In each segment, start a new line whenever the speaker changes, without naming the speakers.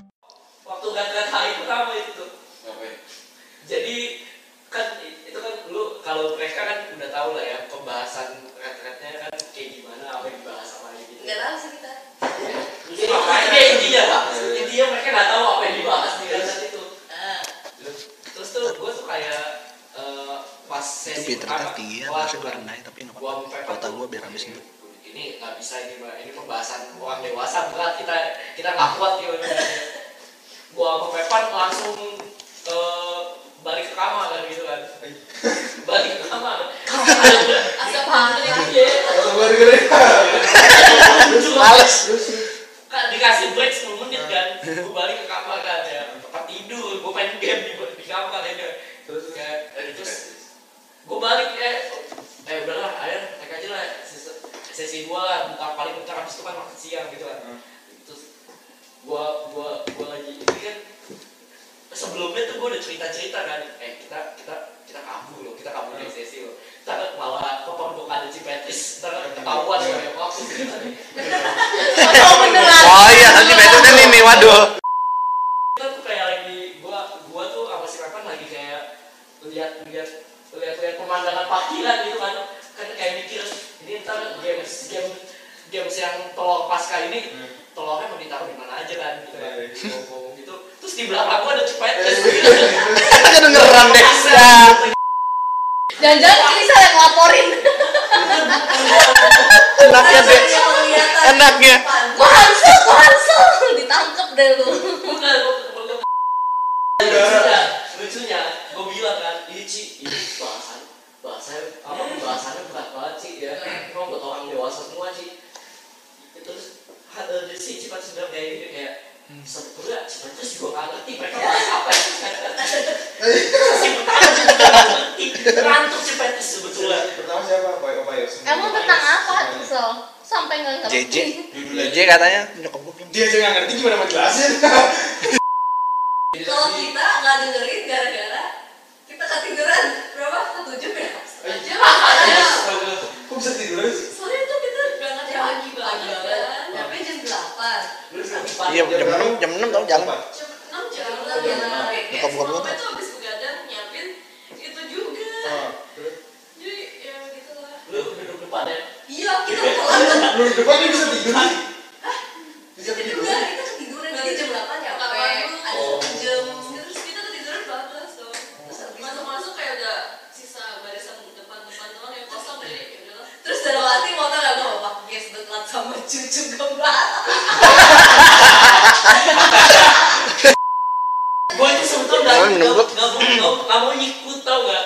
kan ya, kan eh,
Ah,
ternyata dia harusnya gue rendahin tapi nggak apa-apa kota gue biar habis gitu. dulu
ini nggak bisa ini mbak ini pembahasan orang dewasa berat kita kita
Ah.
nggak kuat ya udah. gua sama Pepan langsung ke balik ke kamar kan gitu kan balik ke kamar
Asap hangat.
Iya.
Baru gue
males
kan dikasih break 10 menit kan
Ah.
gua balik ke kamar kan ya tempat tidur gua main game di, di kamar ya kan
Terus
Ya, dan terus gua balik eh eh udahlah akhir naik aja lah sesi, sesi dua lah bentar paling bentar habis itu kan makan siang gitu kan
Hmm.
terus gua gua gua lagi ini kan sebelumnya tuh gua udah cerita cerita kan eh kita kita kita kabur loh kita kabur dari sesi loh kita malah ke perbukaan Cipetis ntar ketahuan
Iya.
ya waktu kita nih.
Oh beneran.
oh iya nanti besoknya nih nih waduh
kita tuh kayak lagi gua gua tuh apa sih kapan lagi kayak lihat lihat lihat lihat pemandangan parkiran gitu kan kan kayak mikir ini ntar games game games yang telur pasca ini
Hmm.
telurnya mau ditaruh di mana aja kan gitu kan
Iya, iya.
ngomong gitu terus di belakang gua ada cepet
aja dengeran deh Dah.
Jangan-jangan ini saya yang ngelaporin.
enaknya deh
Saya yang kelihatan.
enaknya
Gua Hansel, gua Hansel. Ditangkep deh lu.
bukan gua- gua- lucunya lucunya gua bilang kan ini Ci, ini bahasan bahasan apa bahasannya berat banget sih ya emang buat orang dewasa semua sih terus ada si cipta sudah kayak ini kayak sebetulnya cipta terus juga nggak ngerti mereka bahas apa ya si pertama juga nggak ngerti rantuk cipta terus sebetulnya
Pertama siapa? Boy Obayos.
Emang tentang apa Hansel? Sampai nggak ngerti.
JJ JJ katanya nyokap gue bilang,
Dia aja nggak ngerti gimana mau jelasin.
Kalau kita nggak dengerin gara-gara kita ketiduran berapa? Ketujuh ya? Setengah jam.
Astaga.
Kok bisa tidur sih?
Soalnya tuh kita berangkat pagi banget kan. Tapi jam delapan.
Terus
iya jam enam jam enam tau jalan
Jam enam jam
Oh,
lah
iya.
ya. Kayak
Buka-buka
semua
dulu.
itu habis begadang nyiapin itu juga.
Ah.
Jadi ya gitu lah.
lu duduk depan ya
Iya kita telat.
Lu di depan dia bisa tidur sih. Bisa
Jadi
tidur.
enggak kita ketiduran. Jadi jam delapan ya. Kamar lu ada
Oh.
jam. Terus kita ketiduran bablas dong. Terus masuk-masuk kayak udah sisa barisan depan-depan doang yang kosong jadi ya udahlah. Terus dalam hati mau tau gak gue pak guys dekat sama cucu kembar.
gue itu sebetulnya
Jangan
nggak nggak
menunggu.
nggak mau- nggak mau- nggak mau ikut tau gak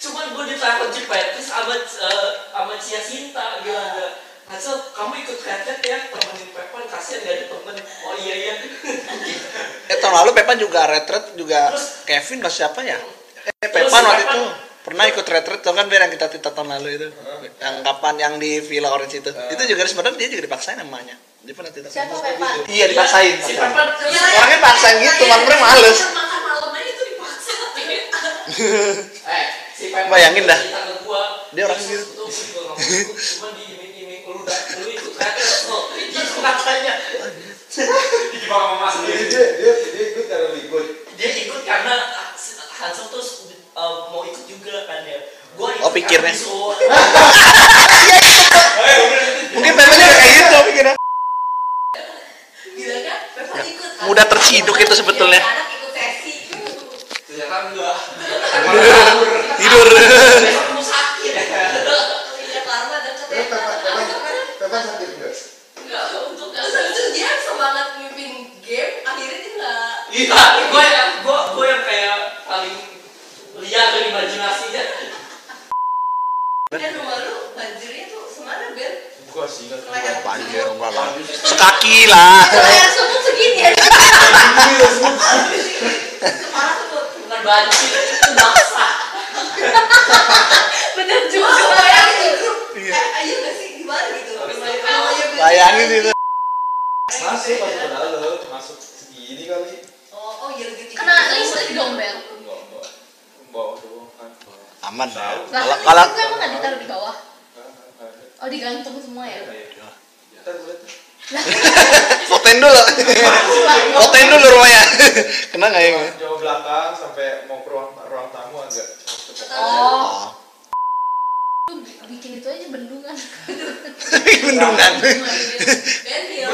cuman gue ditaruh di petis sama eh, sama Cia Sinta gitu gak Hansel, kamu ikut kreatif ya, temenin Pepon, kasihan gak ada temen Oh iya iya
eh tahun lalu Pepan juga retret juga Kevin atau siapa ya eh Pepan waktu itu pernah ikut retret tau kan biar yang kita cerita tahun lalu itu yang kapan yang di Villa Orange itu itu juga sebenarnya dia juga dipaksain namanya dia pernah cerita
Siapa Pepa?
iya dipaksain
Si Pepon,
orangnya paksain gitu makanya males
Makan malam aja tuh dipaksa.
eh, si Pepon
Bayangin dah.
cerita ke gua,
Dia orang
terus tuh
gitu.
gua juga nggak mau ikut, cuman diiming-iming, lu udah, lu ikut kreatif kok Gitu katanya Di bawah mama
Jadi
sendiri
dia dia dia ikut karena lu ikut.
dia ikut karena ah, Hansel terus uh, mau ikut juga kan ya gua ikut
Oh, pikirnya.
karena disuruh.
mungkin Pepan juga kayak gitu pikirnya
Gila kan? Peppa ikut. kan?
mudah terciduk itu sebetulnya.
Iya, Anak ikut sesi.
ternyata enggak
tidur
besok kamu sakit
ya. Iya karma
Terus
deket ya.
Pepa Pepa Pepa sakit nggak?
Enggak untuk terus habis itu dia semangat mimpin game akhirnya dia nggak
iya gua yang gua gua yang kayak paling liar dari imajinasinya
dan rumah lu banjirnya tuh semana Ben?
Gua sih nggak.
Leher
panjir
semut.
enggak lah sekaki lah
Layar semut segini ya.
Kepala semut.
bukan banci itu bangsa
Bener
Cuma
juga.
kebayang gitu.
Iya.
Eh, ayo nggak sih gimana gitu?
Kebayang.
Namanya Ben. iya."
bayangin itu
Masuk pas padahal lu masuk segini kali.
Oh, oh iya lebih tinggi.
Kena listrik dong Bel.
Enggak enggak. Bawa doang kan.
aman ya
Lah kan
kalau kalau
listrik tuh emang nggak ditaruh di bawah. Oh digantung semua ya.
Iya.
Ntar gue liat.
fotoin dulu
iya.
fotoin dulu rumahnya kena nggak ya
Jawa belakang sampai mau ke ruang ruang tamu agak.
Oh.
oh
Lu bi- bikin itu aja bendungan.
bendungan
Ben Hill.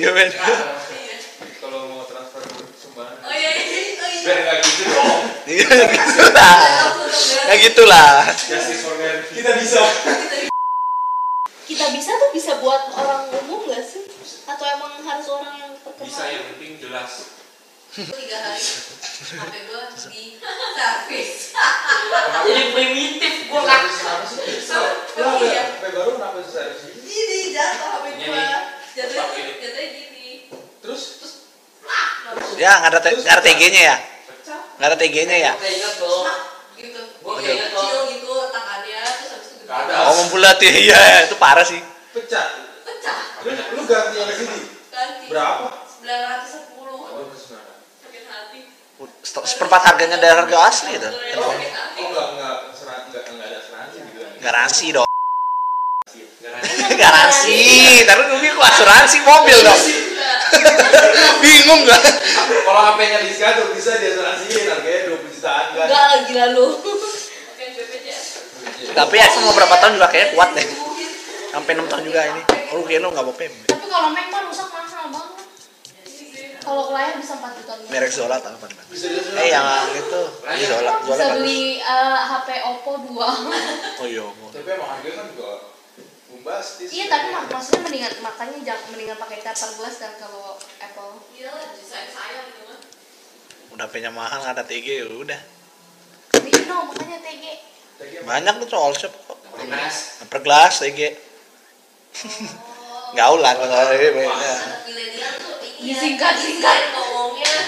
iya men
Kalau mau transfer sumbangan.
Oh iya iya. Oh iya.
Biar nggak gitu dong.
iya gitu lah nggak gitu lah
Justice for them. Ya Kita bisa.
Kita bisa tuh bisa buat orang umum gak sih? Atau emang harus orang yang terkenal?
bisa
iya.
yang penting jelas
tiga hari HP gue di servis
Jadi primitif gua kan.
Lah,
Tapi
iya.
ya,
HP baru kenapa susah harus gini?
gini jatuh HP gue
Ini.
jatuh jatuh gini
Terus
ya nggak ada nggak ada TG nya ya
pecah
nggak ada TG nya ya
Kayak ingat loh.
Mak, gitu
Gua
Jadi
ingat
kecil
kok.
gitu tangannya terus habis itu
Nggak ada.
oh membulat ya iya itu parah sih
pecah.
pecah
Terus lu ganti yang sini. Oh,
ganti
Berapa?
910
Aduh, kesenangan.
sakit hati
Se- seperempat harganya dari harga asli itu telepon
sakit hati
Oh enggak enggak serat enggak enggak ada asuransi gitu.
garansi dong
garansi
garansi taruh gue bilang asuransi mobil dong bingung gak
Kalau HP-nya diskado bisa diasuransiin harganya 20 jutaan kan.
Enggak lah gila lu.
Oke, BPJS.
tapi iPhone mau berapa tahun juga kayaknya kuat deh sampai 6 tahun juga ini oh kayaknya lo nggak mau PM
Tapi kalau Mac mah rusak mahal banget. Kalau ke layar bisa 4 juta lebih.
merek Zola tau apa namanya
Bisa diasuransiin.
eh yang itu ini Zola Zola
Bisa
bagus.
beli eh, HP Oppo 2.
oh iya mau.
Tapi emang harganya kan juga bombastis.
Iya tapi mak maksudnya mendingan makanya jangan mendingan pakai charter glass dan kalau Apple.
Gila lah, desain saya gitu kan.
udah punya mahal nggak ada TG ya udah
Tapi no makanya TG.
Tapi emang-
banyak tuh tuh all shop kok
Mas,
per gelas TG
Oh.
gaul lah kalau ini beda
Anak milenial tuh ini ya,
Disingkat,
desain
singkat.
ngomongnya.